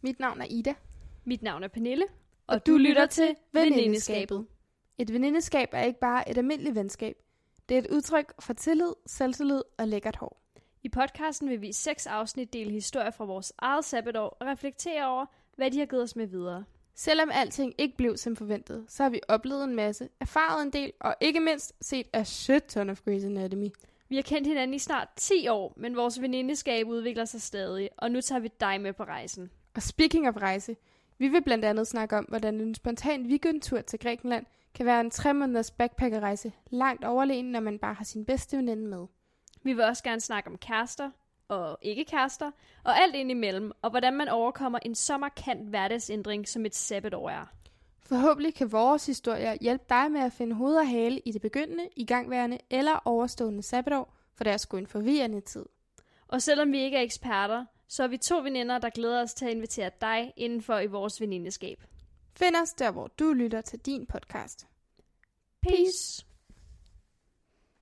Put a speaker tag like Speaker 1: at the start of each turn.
Speaker 1: Mit navn er Ida,
Speaker 2: Mit navn er Pernille, og,
Speaker 1: du lytter til Venindeskabet. Et venindeskab er ikke bare et almindeligt venskab. Det er et udtryk for tillid, selvtillid og lækkert hår.
Speaker 2: I podcasten vil vi i seks afsnit dele historier fra vores eget sabbatår og reflektere over, hvad de har givet os med videre.
Speaker 1: Selvom alting ikke blev som forventet, så har vi oplevet en masse, erfaret en del og ikke mindst set a shit ton of Grey's Anatomy.
Speaker 2: Vi har kendt hinanden i snart 10 år, men vores venindeskab udvikler sig stadig, og nu tager vi dig med på rejsen.
Speaker 1: Og speaking of rejse, vi vil blandt andet snakke om, hvordan en spontan weekendtur til Grækenland kan være en tre måneders backpackerrejse langt overlegen, når man bare har sin bedste veninde med.
Speaker 2: Vi vil også gerne snakke om kærester og ikke kærester, og alt indimellem, og hvordan man overkommer en så markant hverdagsændring, som et sabbatår er.
Speaker 1: Forhåbentlig kan vores historier hjælpe dig med at finde hoved og hale i det begyndende, igangværende eller overstående sabbatår, for det er sgu en forvirrende tid.
Speaker 2: Og selvom vi ikke er eksperter, så er vi to veninder, der glæder os til at invitere dig indenfor i vores venindeskab.
Speaker 1: Find os der, hvor du lytter til din podcast.
Speaker 2: Peace!